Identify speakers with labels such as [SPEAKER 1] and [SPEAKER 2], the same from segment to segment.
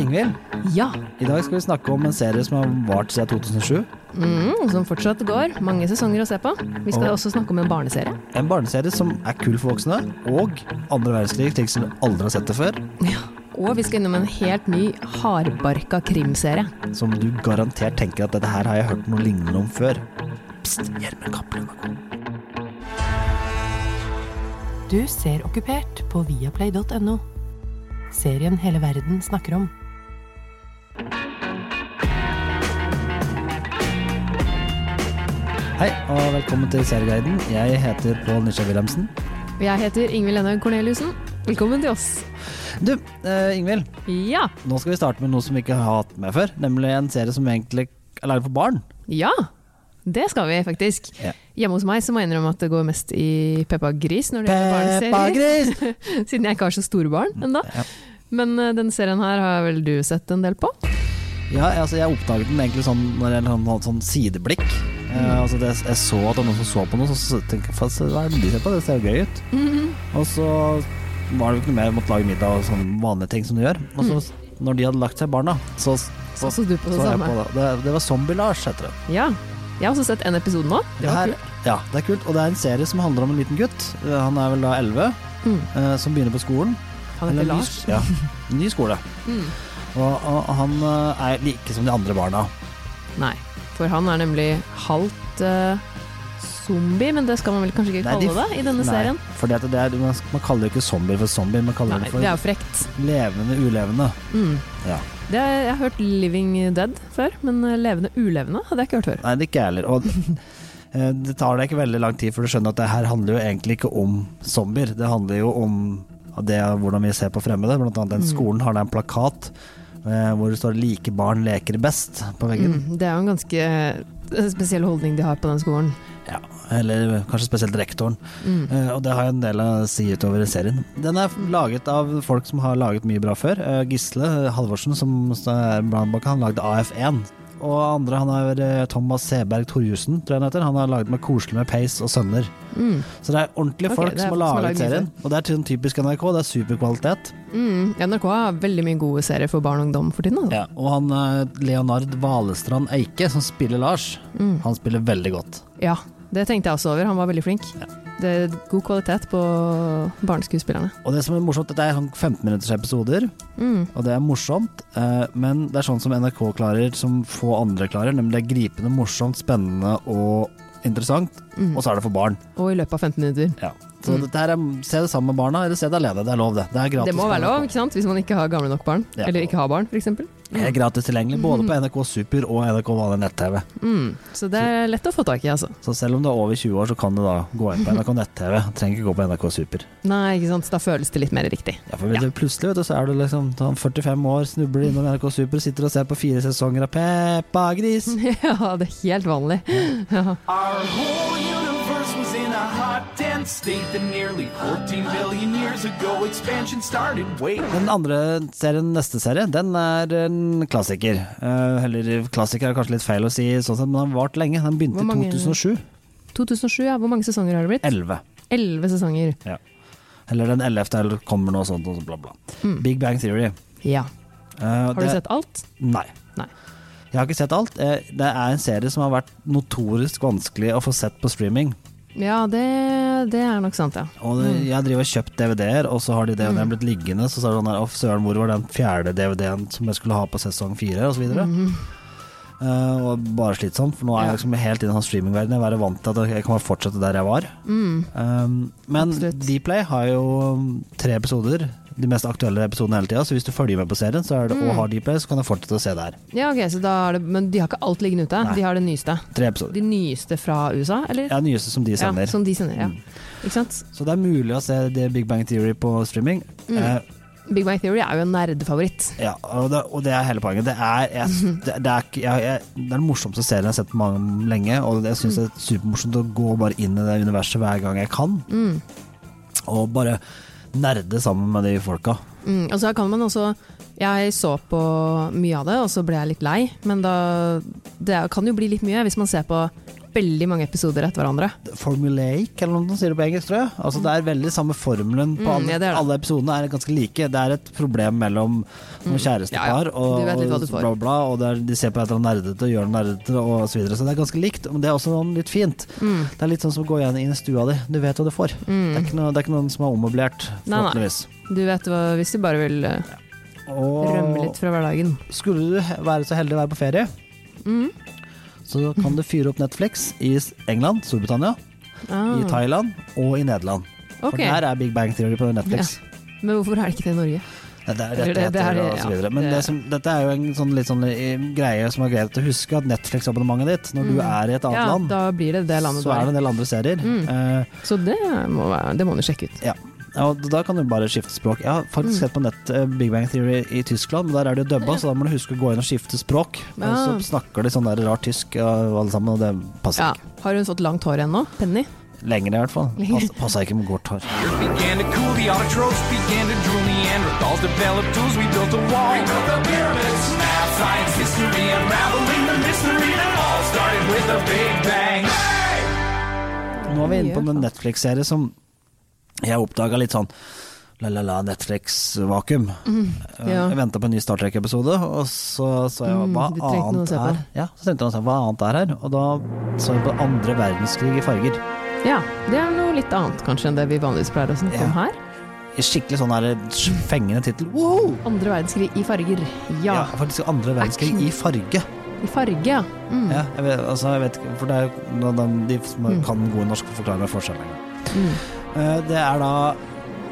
[SPEAKER 1] Ingvild,
[SPEAKER 2] Ja.
[SPEAKER 1] i dag skal vi snakke om en serie som har vart siden 2007.
[SPEAKER 2] Mm, som fortsatt går. Mange sesonger å se på. Vi skal
[SPEAKER 1] Og-
[SPEAKER 2] også snakke om en barneserie.
[SPEAKER 1] En barneserie som er kul for voksne, og andre verdenskrig slik som vi aldri har sett det før.
[SPEAKER 2] Ja. Og vi skal innom en helt ny hardbarka krimserie.
[SPEAKER 1] Som du garantert tenker at dette her har jeg hørt noe lignende om før. Pst, Gjermund Cappelen var god.
[SPEAKER 3] Du ser okkupert på viaplay.no. Serien hele verden snakker om.
[SPEAKER 1] Hei, og velkommen til Serieguiden. Jeg heter Pål Nisje Wilhelmsen.
[SPEAKER 2] Jeg heter Ingvild Enhaug Corneliussen. Velkommen til oss.
[SPEAKER 1] Du, eh, Ingvild,
[SPEAKER 2] Ja.
[SPEAKER 1] nå skal vi starte med noe som vi ikke har hatt med før. Nemlig en serie som egentlig er laget for barn.
[SPEAKER 2] Ja. Det skal vi faktisk.
[SPEAKER 1] Ja.
[SPEAKER 2] Hjemme hos meg så må jeg innrømme at det går mest i Peppa Gris når det gjelder
[SPEAKER 1] Peppa
[SPEAKER 2] barneserier.
[SPEAKER 1] Gris!
[SPEAKER 2] Siden jeg ikke har så store barn ennå.
[SPEAKER 1] Ja.
[SPEAKER 2] Men eh, den serien her har vel du sett en del på?
[SPEAKER 1] Ja, altså jeg oppdaget den egentlig sånn når jeg hadde sånn, sånn sideblikk.
[SPEAKER 2] Mm.
[SPEAKER 1] Eh, altså det, jeg så at det var noen som så på noe, så- så tenkte jeg "Faen, se, hva er det de ser på, det ser jo gøy ut.
[SPEAKER 2] Mm-hmm.
[SPEAKER 1] Og så var det jo ikke noe mer, jeg måtte lage middag og sånne vanlige ting som du gjør. Og så når de hadde lagt seg barna, så
[SPEAKER 2] Så så Sånn du på Mm. det
[SPEAKER 1] jeg
[SPEAKER 2] samme.
[SPEAKER 1] det. Det, det var Zombie-Lars, heter det.
[SPEAKER 2] Ja. Jeg har også sett en episode nå. Det var
[SPEAKER 1] her-
[SPEAKER 2] kult.
[SPEAKER 1] Ja, det er kult. Og det er en serie som handler om en liten gutt. Eh, Han er vel da 11,
[SPEAKER 2] Mm.
[SPEAKER 1] eh, som begynner på skolen.
[SPEAKER 2] Han
[SPEAKER 1] Eller
[SPEAKER 2] heter
[SPEAKER 1] en ny
[SPEAKER 2] Lars.
[SPEAKER 1] sk- Ja, en ny skole.
[SPEAKER 2] Mm.
[SPEAKER 1] Og, og han eh, er like som de andre barna.
[SPEAKER 2] Nei, for han er nemlig halvt eh, zombie, men det skal man vel kanskje ikke
[SPEAKER 1] Nei,
[SPEAKER 2] kalle
[SPEAKER 1] de-
[SPEAKER 2] det i denne serien?
[SPEAKER 1] Fordi at det er, man, man kaller jo ikke zombier for zombier, man kaller
[SPEAKER 2] Nei,
[SPEAKER 1] det for
[SPEAKER 2] det er jo frekt.
[SPEAKER 1] levende ulevende.
[SPEAKER 2] Mm.
[SPEAKER 1] Ja.
[SPEAKER 2] Det, jeg har hørt Living Dead før, men eh, Levende Ulevende hadde jeg ikke hørt før.
[SPEAKER 1] Nei, det er ikke jeg heller. Og eh, det tar deg ikke veldig lang tid, for du skjønner at det her handler jo egentlig ikke om zombier. Det handler jo om det, hvordan vi ser på fremmede. Blant annet
[SPEAKER 2] Mm.
[SPEAKER 1] den skolen har da en plakat eh, hvor det står 'like barn leker best' på veggen.
[SPEAKER 2] Mm. Det er jo en ganske eh, spesiell holdning de har på den skolen.
[SPEAKER 1] Ja, eller kanskje spesielt rektoren.
[SPEAKER 2] Mm.
[SPEAKER 1] Eh, og det har jo en del å si utover i serien. Den er laget av folk som har laget mye bra før. Eh, Gisle Halvorsen, som er blant bak, han lagde AF1. Og andre, han er eh, Thomas Seberg Torjussen, tror jeg han heter. Han har laget med 'Koselig med peis og sønner'.
[SPEAKER 2] Mm.
[SPEAKER 1] Så det er ordentlige
[SPEAKER 2] Ok,
[SPEAKER 1] folk
[SPEAKER 2] det er
[SPEAKER 1] som har
[SPEAKER 2] folk som har
[SPEAKER 1] laget
[SPEAKER 2] laget mye
[SPEAKER 1] serien. Og det er sånn typisk NRK, det er superkvalitet.
[SPEAKER 2] Mm. NRK har veldig mye gode serier for barn og ungdom for tiden. Altså.
[SPEAKER 1] Og han eh, Leonard Valestrand Eike, som spiller Lars,
[SPEAKER 2] Mm.
[SPEAKER 1] han spiller veldig godt.
[SPEAKER 2] ja, det tenkte jeg også over. Han var veldig flink. Det er god kvalitet på barneskuespillerne.
[SPEAKER 1] Og det som er morsomt, dette er sånn 15-minutters episoder.
[SPEAKER 2] Mm.
[SPEAKER 1] Og det er morsomt, eh, men det er sånn som NRK klarer, som få andre klarer. Nemlig det er gripende, morsomt, spennende og interessant.
[SPEAKER 2] Mm.
[SPEAKER 1] Og så er det for barn.
[SPEAKER 2] Og i løpet av 15 minutter.
[SPEAKER 1] Så
[SPEAKER 2] Mm.
[SPEAKER 1] dette her er, se det sammen med barna, eller se det alene. Det er lov, det. Det er gratis,
[SPEAKER 2] Det må
[SPEAKER 1] på
[SPEAKER 2] være
[SPEAKER 1] NRK.
[SPEAKER 2] lov, ikke sant? hvis man ikke har gamle nok barn.
[SPEAKER 1] Ja.
[SPEAKER 2] Eller ikke har barn, f.eks.
[SPEAKER 1] Det er gratis tilgjengelig både på NRK Super og NRK vanlig nett-TV.
[SPEAKER 2] Mm. Så det er lett å få tak i, altså.
[SPEAKER 1] Så selv om du er over 20 år, så kan du da gå inn på NRK nett-TV. Trenger ikke gå på NRK Super.
[SPEAKER 2] Nei, ikke sant? Så da føles det litt mer riktig.
[SPEAKER 1] Ja, for vet du, plutselig vet du, så er du liksom sånn 45 år, snubler innom NRK Super, sitter og ser på fire sesonger av Peppa Gris.
[SPEAKER 2] ja, det er helt vanlig. Ja.
[SPEAKER 4] Our whole universe was in a hot, dense state that nearly 14 billion years ago expansion started. Wait.
[SPEAKER 1] Den andre serien, neste serie, den er en klassiker. Eh, eller klassiker er kanskje litt feil å si, sånn sett, men den har vart lenge. Den begynte
[SPEAKER 2] Hvor mange-
[SPEAKER 1] i 2007.
[SPEAKER 2] 2007, ja. Hvor mange sesonger har det blitt?
[SPEAKER 1] 11.
[SPEAKER 2] Elleve sesonger.
[SPEAKER 1] Eller den 11. eller kommer noe sånt, og så bla, bla.
[SPEAKER 2] Mm.
[SPEAKER 1] Big Bang Theory.
[SPEAKER 2] Ja.
[SPEAKER 1] Eh,
[SPEAKER 2] Har du sett alt?
[SPEAKER 1] Nei.
[SPEAKER 2] Nei.
[SPEAKER 1] Jeg har ikke sett alt. Eh, Det er en serie som har vært notorisk vanskelig å få sett på streaming.
[SPEAKER 2] Ja, det, det er nok sant, ja.
[SPEAKER 1] Og det, jeg driver og kjøpt DVD-er, og så har de DVD-en
[SPEAKER 2] Mm.
[SPEAKER 1] blitt liggende. Så sa du sånn der, «Å, søren, hvor var den fjerde DVD-en som jeg skulle ha på sesong fire, og så videre.
[SPEAKER 2] Mm.
[SPEAKER 1] Eh, og bare slitsomt, for nå er jeg liksom helt inne i sånn streamingverden. Jeg er vant til at jeg kan bare fortsette der jeg var. Um, men
[SPEAKER 2] Mm. Absolutt.
[SPEAKER 1] Dplay har jo um, tre episoder, de mest aktuelle episodene hele tida. Så hvis du følger med på serien så er det,
[SPEAKER 2] Mm.
[SPEAKER 1] og har Dplay, så kan du fortsette å se der.
[SPEAKER 2] ja ok, så da er det, Men de har ikke alt liggende ute?
[SPEAKER 1] Nei.
[SPEAKER 2] De har det nyeste?
[SPEAKER 1] Tre episoder.
[SPEAKER 2] De nyeste fra USA, eller?
[SPEAKER 1] Ja, nyeste som de sender. Mm.
[SPEAKER 2] som de sender, ja. Ikke sant?
[SPEAKER 1] Så det er mulig å se det Big Bang Theory på streaming.
[SPEAKER 2] Mm.
[SPEAKER 1] Eh,
[SPEAKER 2] Big Bang Theory er jo en nerdefavoritt.
[SPEAKER 1] Ja, og det, og det er hele poenget. Det er, jeg, det, det er, ikke- jeg, jeg, det er den morsomste serien jeg har sett på mange lenge, og jeg syns det er supermorsomt å gå bare inn i det universet hver gang jeg kan,
[SPEAKER 2] Mm.
[SPEAKER 1] og bare nerde sammen med de folka.
[SPEAKER 2] Mm, og så kan man også Jeg så på mye av det, og så ble jeg litt lei. Men da, det er- kan jo bli litt mye hvis man ser på veldig mange episoder etter hverandre.
[SPEAKER 1] Formulaic, eller noe de sier det på engelsk, tror jeg. Altså, det er veldig samme formelen på
[SPEAKER 2] Mm,
[SPEAKER 1] alle,
[SPEAKER 2] ja, det er det.
[SPEAKER 1] alle episodene. er ganske like. Det er et problem mellom som
[SPEAKER 2] Mm. Ja, ja.
[SPEAKER 1] kjærestepar
[SPEAKER 2] Du
[SPEAKER 1] og
[SPEAKER 2] vet litt hva du får.
[SPEAKER 1] bla, bla, og det er, de ser på et eller annet nerdete og gjør det nerdete og så videre. Så det er ganske likt, men det er også noe litt fint.
[SPEAKER 2] Mm.
[SPEAKER 1] Det er litt sånn som å gå igjen inn i stua di. Du vet hva du får. Det, er ikke noe, det er ikke noen som er ommøblert,
[SPEAKER 2] Nei, nei.
[SPEAKER 1] forhåpentligvis.
[SPEAKER 2] Mm. Du vet hva, hvis du bare vil eh, rømme
[SPEAKER 1] Og
[SPEAKER 2] litt fra hverdagen.
[SPEAKER 1] skulle du være så heldig å være på ferie,
[SPEAKER 2] Mm.
[SPEAKER 1] så kan du fyre opp Netflix i England, Storbritannia, i
[SPEAKER 2] Ah,
[SPEAKER 1] Thailand og i Nederland. For
[SPEAKER 2] ok,
[SPEAKER 1] der er Big Bang Theory på Netflix.
[SPEAKER 2] men hvorfor er det ikke det i Norge?
[SPEAKER 1] Nei, Det er
[SPEAKER 2] Eller det-
[SPEAKER 1] rettigheter
[SPEAKER 2] det er det,
[SPEAKER 1] og så
[SPEAKER 2] ja.
[SPEAKER 1] videre. Men
[SPEAKER 2] Det-
[SPEAKER 1] det som, dette er jo en sånn, litt sånn eh, greie som er greit å huske, at Netflix-abonnementet ditt, når du er i et annet
[SPEAKER 2] Mm. Ja,
[SPEAKER 1] land,
[SPEAKER 2] da blir det det landet du
[SPEAKER 1] så er det
[SPEAKER 2] er i.
[SPEAKER 1] en del andre serier.
[SPEAKER 2] Mm.
[SPEAKER 1] Eh,
[SPEAKER 2] Så det må, være, det må du sjekke ut.
[SPEAKER 1] ja. Og da kan du bare skifte språk. Jeg har faktisk
[SPEAKER 2] Mm.
[SPEAKER 1] sett på nett eh, Big Bang Theory i Tyskland, men der er det jo dubba, så da må du huske å gå inn og skifte språk. Og
[SPEAKER 2] Ah.
[SPEAKER 1] Så snakker de sånn der rart tysk ja, alle sammen, og det passer
[SPEAKER 2] Ja. Har hun fått langt hår ennå? Penny?
[SPEAKER 1] ikke. Lenger i hvert fall.
[SPEAKER 2] Lenger.
[SPEAKER 1] Pass- Passer ikke med kort hår.
[SPEAKER 4] Began to cool, the autotrophs began to drool. Neanderthals developed tools, we built a wall. We built the pyramids. Math, science, history, unraveling the mystery that all started with a big bang.
[SPEAKER 1] Nå er vi inne
[SPEAKER 2] Mye,
[SPEAKER 1] på en
[SPEAKER 2] faen.
[SPEAKER 1] Netflix-serie som jeg oppdaga litt sånn la-la-la, Netflix-vakuum. Eh,
[SPEAKER 2] Mm, ja.
[SPEAKER 1] Jeg venta på en ny Star Trek-episode, og så så jeg
[SPEAKER 2] Mm,
[SPEAKER 1] hva
[SPEAKER 2] du trengte noe å
[SPEAKER 1] annet
[SPEAKER 2] se på.
[SPEAKER 1] er Ja, så tenkte jeg også, hva annet er her, og da så jeg på andre verdenskrig i farger.
[SPEAKER 2] Ja, det er noe litt annet kanskje enn det vi vanligvis pleier å snakke om
[SPEAKER 1] Ja.
[SPEAKER 2] her.
[SPEAKER 1] I Skikkelig sånn her fengende tittel. Wow!
[SPEAKER 2] Andre verdenskrig i farger. Ja,
[SPEAKER 1] Ja, faktisk andre verdenskrig
[SPEAKER 2] Action.
[SPEAKER 1] i farge.
[SPEAKER 2] i farge, ja. Mm.
[SPEAKER 1] Ja, jeg vet, altså, jeg vet ikke, for det er jo noe av dem- de som
[SPEAKER 2] Mm.
[SPEAKER 1] kan god norsk forklare forskjellen.
[SPEAKER 2] Mm.
[SPEAKER 1] Eh, Det er da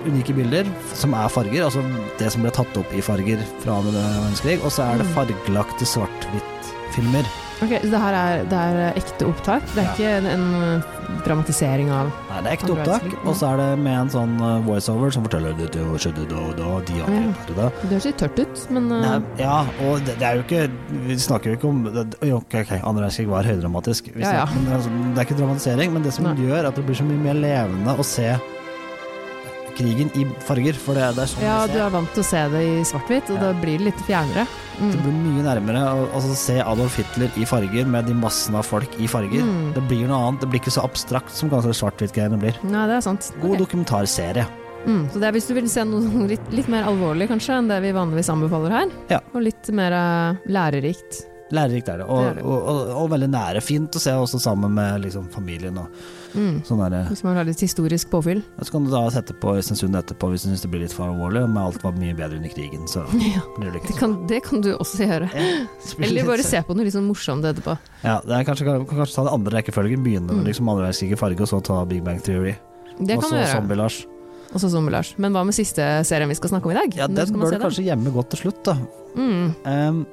[SPEAKER 1] unike bilder som er farger, altså det som ble tatt opp i farger fra andre verdenskrig, og så er det
[SPEAKER 2] Mm.
[SPEAKER 1] fargelagte svart-hvitt-filmer.
[SPEAKER 2] Ok, så det her er, det er ekte opptak? Det er
[SPEAKER 1] Ja.
[SPEAKER 2] ikke en, en dramatisering av
[SPEAKER 1] Nei, det er ekte
[SPEAKER 2] Andre
[SPEAKER 1] opptak,
[SPEAKER 2] verdenskrig, ja.
[SPEAKER 1] og så er det med en sånn eh, voiceover som forteller det, det skjedde da og da,
[SPEAKER 2] Mm.
[SPEAKER 1] de angrep da.
[SPEAKER 2] Det høres litt tørt ut, men uh,
[SPEAKER 1] Nei, ja, og det, det er jo ikke Vi snakker jo ikke om det, det- Ok, ok, andre verdenskrig var høydramatisk. Vi
[SPEAKER 2] Ja, ja.
[SPEAKER 1] snakker- men altså, det er ikke dramatisering, men det som
[SPEAKER 2] Nei.
[SPEAKER 1] gjør at det blir så mye mer levende å se krigen i farger, for det, det er sånn
[SPEAKER 2] ja,
[SPEAKER 1] vi
[SPEAKER 2] du
[SPEAKER 1] ser.
[SPEAKER 2] er vant til å se det i svart-hvitt, og
[SPEAKER 1] Ja.
[SPEAKER 2] da blir det litt fjernere.
[SPEAKER 1] Det
[SPEAKER 2] Mm.
[SPEAKER 1] blir mye nærmere å altså, se Adolf Hitler i farger med de massene av folk i farger.
[SPEAKER 2] Mm.
[SPEAKER 1] Det blir noe annet. Det blir ikke så abstrakt som kanskje svart-hvitt-greiene blir.
[SPEAKER 2] Nei, det er sant.
[SPEAKER 1] God
[SPEAKER 2] Ok.
[SPEAKER 1] dokumentarserie.
[SPEAKER 2] Mm. Så det er hvis du vil se noe sånn litt, litt mer alvorlig kanskje enn det vi vanligvis anbefaler her,
[SPEAKER 1] Ja.
[SPEAKER 2] og litt mer uh, lærerikt.
[SPEAKER 1] Lærerikt er det, og,
[SPEAKER 2] Det er det.
[SPEAKER 1] Og, og, og veldig nære. Fint å se også sammen med liksom, familien og
[SPEAKER 2] Mm.
[SPEAKER 1] sånn derre
[SPEAKER 2] Hvis man vil ha litt historisk påfyll.
[SPEAKER 1] Så kan du da sette på Øystein Sund etterpå hvis du syns det blir litt for alvorlig, men alt var mye bedre under krigen, så
[SPEAKER 2] Ja,
[SPEAKER 1] blir det
[SPEAKER 2] det
[SPEAKER 1] ikke
[SPEAKER 2] kan, det kan du også gjøre.
[SPEAKER 1] sånn.
[SPEAKER 2] Eller bare se på noe litt sånn morsomt etterpå.
[SPEAKER 1] Ja, det er kanskje, kan kanskje ta den andre rekkefølgen. Begynne med
[SPEAKER 2] Mm.
[SPEAKER 1] liksom andre verdenskrig i farge, og så ta Big Bang Theory.
[SPEAKER 2] Det
[SPEAKER 1] Og
[SPEAKER 2] kan du
[SPEAKER 1] så
[SPEAKER 2] gjøre.
[SPEAKER 1] Zombie-Lars.
[SPEAKER 2] Og så Zombie-Lars. Men hva med siste serien vi skal snakke om i dag?
[SPEAKER 1] Ja,
[SPEAKER 2] Når
[SPEAKER 1] den
[SPEAKER 2] skal man
[SPEAKER 1] bør
[SPEAKER 2] se
[SPEAKER 1] du kanskje gjemme godt til slutt, da.
[SPEAKER 2] Mm.
[SPEAKER 1] Um,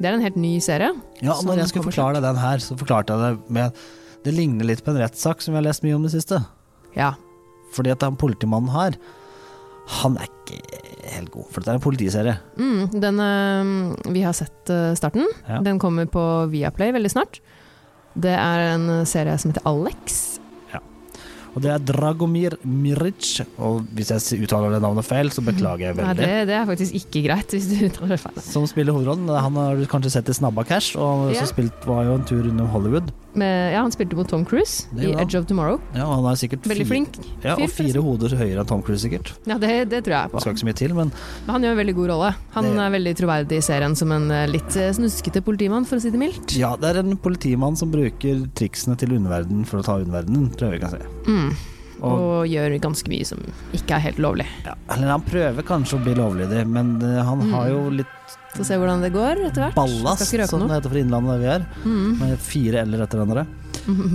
[SPEAKER 2] Det er en helt ny serie.
[SPEAKER 1] ja,
[SPEAKER 2] Som
[SPEAKER 1] når jeg skulle
[SPEAKER 2] Sånn kommer
[SPEAKER 1] forklare deg den her, så forklarte jeg det med Det ligner litt på en rettssak som vi har lest mye om i det siste.
[SPEAKER 2] Ja.
[SPEAKER 1] Fordi at han politimannen her, han er ikke helt god. For dette er en politiserie.
[SPEAKER 2] Mm. Den eh, Vi har sett eh, starten.
[SPEAKER 1] Ja.
[SPEAKER 2] Den kommer på Viaplay veldig snart. Det er en serie som heter Alex.
[SPEAKER 1] Og det er Dragomir Miric. Og hvis jeg s- uttaler det navnet feil, så beklager jeg
[SPEAKER 2] Nei,
[SPEAKER 1] veldig.
[SPEAKER 2] det, det er faktisk ikke greit, hvis du uttaler det feil.
[SPEAKER 1] Som spiller hovedrollen. Han har du kanskje sett i Snabba Cash, og han har
[SPEAKER 2] Ja.
[SPEAKER 1] også spilt, var jo en tur innom Hollywood.
[SPEAKER 2] Men, ja, han spilte mot Tom Cruise
[SPEAKER 1] Det
[SPEAKER 2] i
[SPEAKER 1] gjorde han.
[SPEAKER 2] Edge of Tomorrow.
[SPEAKER 1] Ja, og han er sikkert
[SPEAKER 2] Veldig
[SPEAKER 1] fire-
[SPEAKER 2] flink.
[SPEAKER 1] Ja,
[SPEAKER 2] fyr, altså.
[SPEAKER 1] og fire
[SPEAKER 2] forresten.
[SPEAKER 1] hoder høyere enn Tom Cruise, sikkert.
[SPEAKER 2] Ja, det, det tror jeg
[SPEAKER 1] Det
[SPEAKER 2] på.
[SPEAKER 1] skal ikke så mye til, men
[SPEAKER 2] Men han gjør en veldig god rolle. Han
[SPEAKER 1] Det-
[SPEAKER 2] er veldig troverdig i serien som en eh, litt eh, snuskete politimann, for å si det mildt.
[SPEAKER 1] ja, det er en politimann som bruker triksene til underverdenen for å ta underverdenen, prøver vi kan si.
[SPEAKER 2] Mm. Og,
[SPEAKER 1] Og,
[SPEAKER 2] gjør ganske mye som ikke er helt lovlig.
[SPEAKER 1] ja, eller han prøver kanskje å bli lovlydig, men eh, han har jo litt
[SPEAKER 2] Få se hvordan det går etter hvert.
[SPEAKER 1] ballast,
[SPEAKER 2] Mm. Skal ikke røpe
[SPEAKER 1] som
[SPEAKER 2] noe.
[SPEAKER 1] det heter for Innlandet der vi er,
[SPEAKER 2] Mm.
[SPEAKER 1] med fire eller etter hverandre.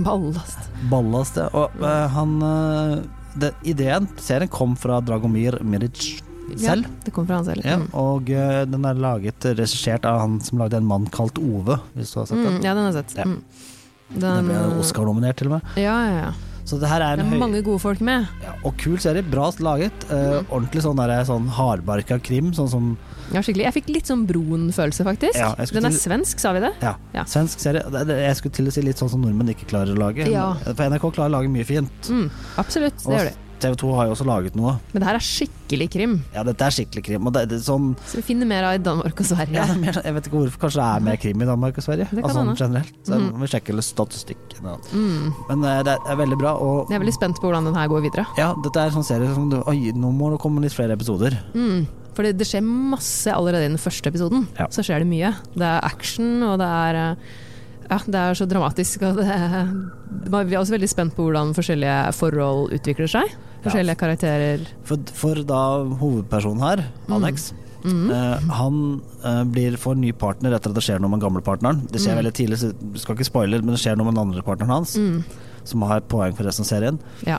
[SPEAKER 2] Ballast.
[SPEAKER 1] Ballast, ja. Og eh, han eh, det, Ideen, serien, kom fra Dragomir Miric selv.
[SPEAKER 2] Ja, det kommer fra han selv.
[SPEAKER 1] Ja,
[SPEAKER 2] Mm.
[SPEAKER 1] og eh, den er laget, regissert av han som lagde 'En mann kalt Ove', hvis du har sett
[SPEAKER 2] Mm,
[SPEAKER 1] den.
[SPEAKER 2] ja, den har jeg sett.
[SPEAKER 1] Ja.
[SPEAKER 2] Mm.
[SPEAKER 1] Den
[SPEAKER 2] Den,
[SPEAKER 1] ble Oscar-nominert, til og med.
[SPEAKER 2] Ja, ja, ja.
[SPEAKER 1] Så det her er
[SPEAKER 2] Det
[SPEAKER 1] en
[SPEAKER 2] er
[SPEAKER 1] høy
[SPEAKER 2] mange Mm. gode folk med.
[SPEAKER 1] ja, og kul serie. Bra laget. eh, Ordentlig sånn, der, sånn hardbarka krim, sånn som
[SPEAKER 2] Ja, skikkelig. Jeg fikk litt sånn Broen-følelse, faktisk.
[SPEAKER 1] Ja, jeg skulle
[SPEAKER 2] den er
[SPEAKER 1] til-
[SPEAKER 2] svensk, sa vi det?
[SPEAKER 1] ja,
[SPEAKER 2] Ja.
[SPEAKER 1] svensk serie. Det- det- Jeg skulle til å si litt sånn som nordmenn ikke klarer å lage.
[SPEAKER 2] Ja.
[SPEAKER 1] For NRK klarer å lage mye fint.
[SPEAKER 2] Mm, absolutt, det
[SPEAKER 1] Og
[SPEAKER 2] gjør de.
[SPEAKER 1] TV2 har jo også laget noe.
[SPEAKER 2] Men det her er skikkelig krim,
[SPEAKER 1] Ja, dette er skikkelig krim. Og det, det, er sånn,
[SPEAKER 2] som vi finner mer av i Danmark og Sverige.
[SPEAKER 1] ja, det er mer, jeg vet ikke hvorfor. Kanskje det er mer krim i Danmark og Sverige?
[SPEAKER 2] Det kan
[SPEAKER 1] Altså, sånn
[SPEAKER 2] hende. Mm.
[SPEAKER 1] generelt. Så jeg må sjekke litt statistikk. eller noe. Men eh, det er veldig bra. Og
[SPEAKER 2] Jeg er veldig spent på hvordan den her går videre.
[SPEAKER 1] ja, dette er en sånn serie som du, Oi, nå må det komme litt flere episoder.
[SPEAKER 2] For Mm. det, det skjer masse allerede i den første episoden.
[SPEAKER 1] Ja.
[SPEAKER 2] Så skjer det mye. Det er action, og det er eh, ja, det er så dramatisk. Og det, man- vi er også veldig spent på hvordan forskjellige forhold utvikler seg. Forskjellige karakterer.
[SPEAKER 1] For, for da hovedpersonen her,
[SPEAKER 2] Mm.
[SPEAKER 1] Alex eh, han eh, blir får ny partner etter at det skjer noe med den gamle partneren. Det
[SPEAKER 2] Mm.
[SPEAKER 1] skjer veldig tidlig, så du skal ikke spoile, men det skjer noe med den andre partneren hans. Som har poeng for resten av serien.
[SPEAKER 2] Ja.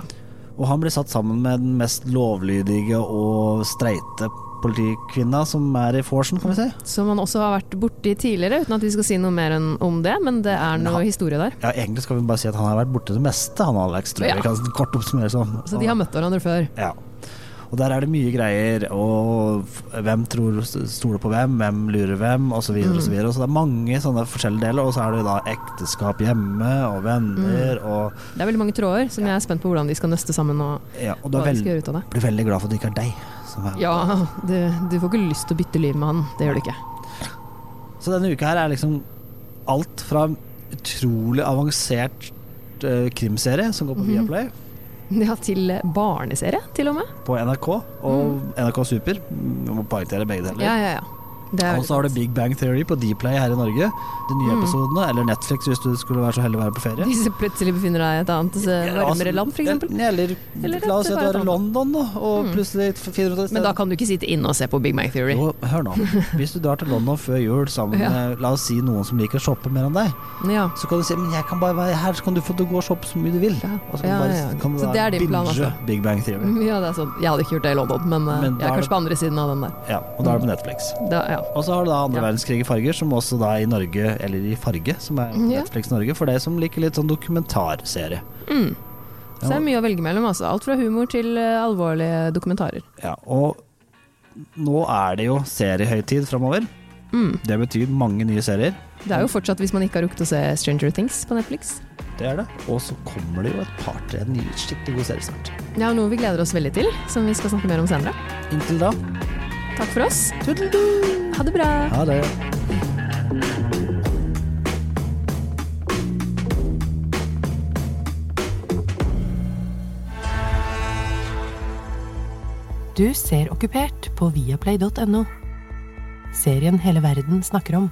[SPEAKER 1] Og han blir satt sammen med den mest lovlydige og streite politikvinna som er i vorsen, kan vi si.
[SPEAKER 2] Som man også har vært borti tidligere, uten at vi skal si noe mer enn om det. Men det er noe historie der.
[SPEAKER 1] Ja, egentlig skal vi bare si at han har vært borte det meste, han Alex, tror jeg.
[SPEAKER 2] Ja.
[SPEAKER 1] Vi kan kort oppsummere sånn.
[SPEAKER 2] Så de har møtt hverandre før.
[SPEAKER 1] Ja. Og der er det mye greier, og f- hvem tror stoler på hvem, hvem lurer hvem, osv. Så, videre,
[SPEAKER 2] Mm.
[SPEAKER 1] og så, videre. så det er mange sånne forskjellige deler, og så er det jo da ekteskap hjemme, og
[SPEAKER 2] Mm.
[SPEAKER 1] venner, og
[SPEAKER 2] Det er veldig mange tråder som jeg er spent på hvordan de skal nøste sammen. Og
[SPEAKER 1] ja, Og du
[SPEAKER 2] Hva
[SPEAKER 1] er
[SPEAKER 2] de
[SPEAKER 1] veld,
[SPEAKER 2] skal gjøre ut av det.
[SPEAKER 1] blir veldig glad for at det ikke er deg. Som er.
[SPEAKER 2] ja, du, du får ikke lyst til å bytte liv med han. Det gjør du ikke.
[SPEAKER 1] Så denne uka her er liksom alt fra utrolig avansert eh, krimserie som går på
[SPEAKER 2] Mm-hmm.
[SPEAKER 1] Viaplay,
[SPEAKER 2] Ja, til barneserie, til og med.
[SPEAKER 1] på NRK, og
[SPEAKER 2] Mm.
[SPEAKER 1] NRK Super. Vi må poengtere begge deler.
[SPEAKER 2] Ja, ja, Mm. ja. Det er
[SPEAKER 1] Og så har du Big Bang Theory på Dplay her i Norge. De nye episodene, eller Netflix hvis du skulle være så heldig å være på ferie.
[SPEAKER 2] Hvis du plutselig befinner deg i et annet eh,
[SPEAKER 1] Ja, altså,
[SPEAKER 2] varmere land, f.eks.
[SPEAKER 1] ja, Eller,
[SPEAKER 2] Eller
[SPEAKER 1] la oss
[SPEAKER 2] rett
[SPEAKER 1] si at du er i
[SPEAKER 2] til bare et Mm.
[SPEAKER 1] London, da, og plutselig finner du ut et
[SPEAKER 2] Men da kan du ikke sitte inne og se på Big Bang Theory.
[SPEAKER 1] jo, hør nå. Hvis du drar til London før jul sammen
[SPEAKER 2] Ja.
[SPEAKER 1] med la oss si noen som liker å shoppe mer enn deg,
[SPEAKER 2] Ja.
[SPEAKER 1] så kan du si men jeg kan bare være her, så kan du få til å gå og shoppe så mye du vil. Og så kan du altså,
[SPEAKER 2] Ja,
[SPEAKER 1] bare,
[SPEAKER 2] ja, ja.
[SPEAKER 1] Kan du
[SPEAKER 2] Så
[SPEAKER 1] da
[SPEAKER 2] det er din plan,
[SPEAKER 1] binge
[SPEAKER 2] altså.
[SPEAKER 1] Big Bang Theory.
[SPEAKER 2] ja, det er sånn. Jeg hadde ikke gjort det i London, men, eh,
[SPEAKER 1] Men da
[SPEAKER 2] jeg er
[SPEAKER 1] er
[SPEAKER 2] kanskje
[SPEAKER 1] det-
[SPEAKER 2] på andre siden av den der.
[SPEAKER 1] Ja, og da er det på Netflix.
[SPEAKER 2] Da, ja.
[SPEAKER 1] Og så har du da andre
[SPEAKER 2] Ja.
[SPEAKER 1] verdenskrig i farger, som også da er i Norge, eller i Farge, som er
[SPEAKER 2] Ja.
[SPEAKER 1] Netflix Norge, for deg som liker litt sånn dokumentarserie.
[SPEAKER 2] Mm. Så det er mye å velge mellom. Altså. Alt fra humor til eh, alvorlige dokumentarer.
[SPEAKER 1] Ja, og nå er det jo seriehøytid framover. Det betyr mange nye serier.
[SPEAKER 2] Mm. Det er jo fortsatt hvis man ikke har rukket å se Stranger Things på Netflix.
[SPEAKER 1] Det er det. Og så kommer det jo et par-tre nye skikkelig gode serier snart.
[SPEAKER 2] Det er jo noe vi gleder oss veldig til, som vi skal snakke mer om senere.
[SPEAKER 1] Inntil da,
[SPEAKER 2] Takk for oss. Ha det bra.
[SPEAKER 1] ha det.
[SPEAKER 3] Du ser okkupert på viaplay.no. Serien hele verden snakker om.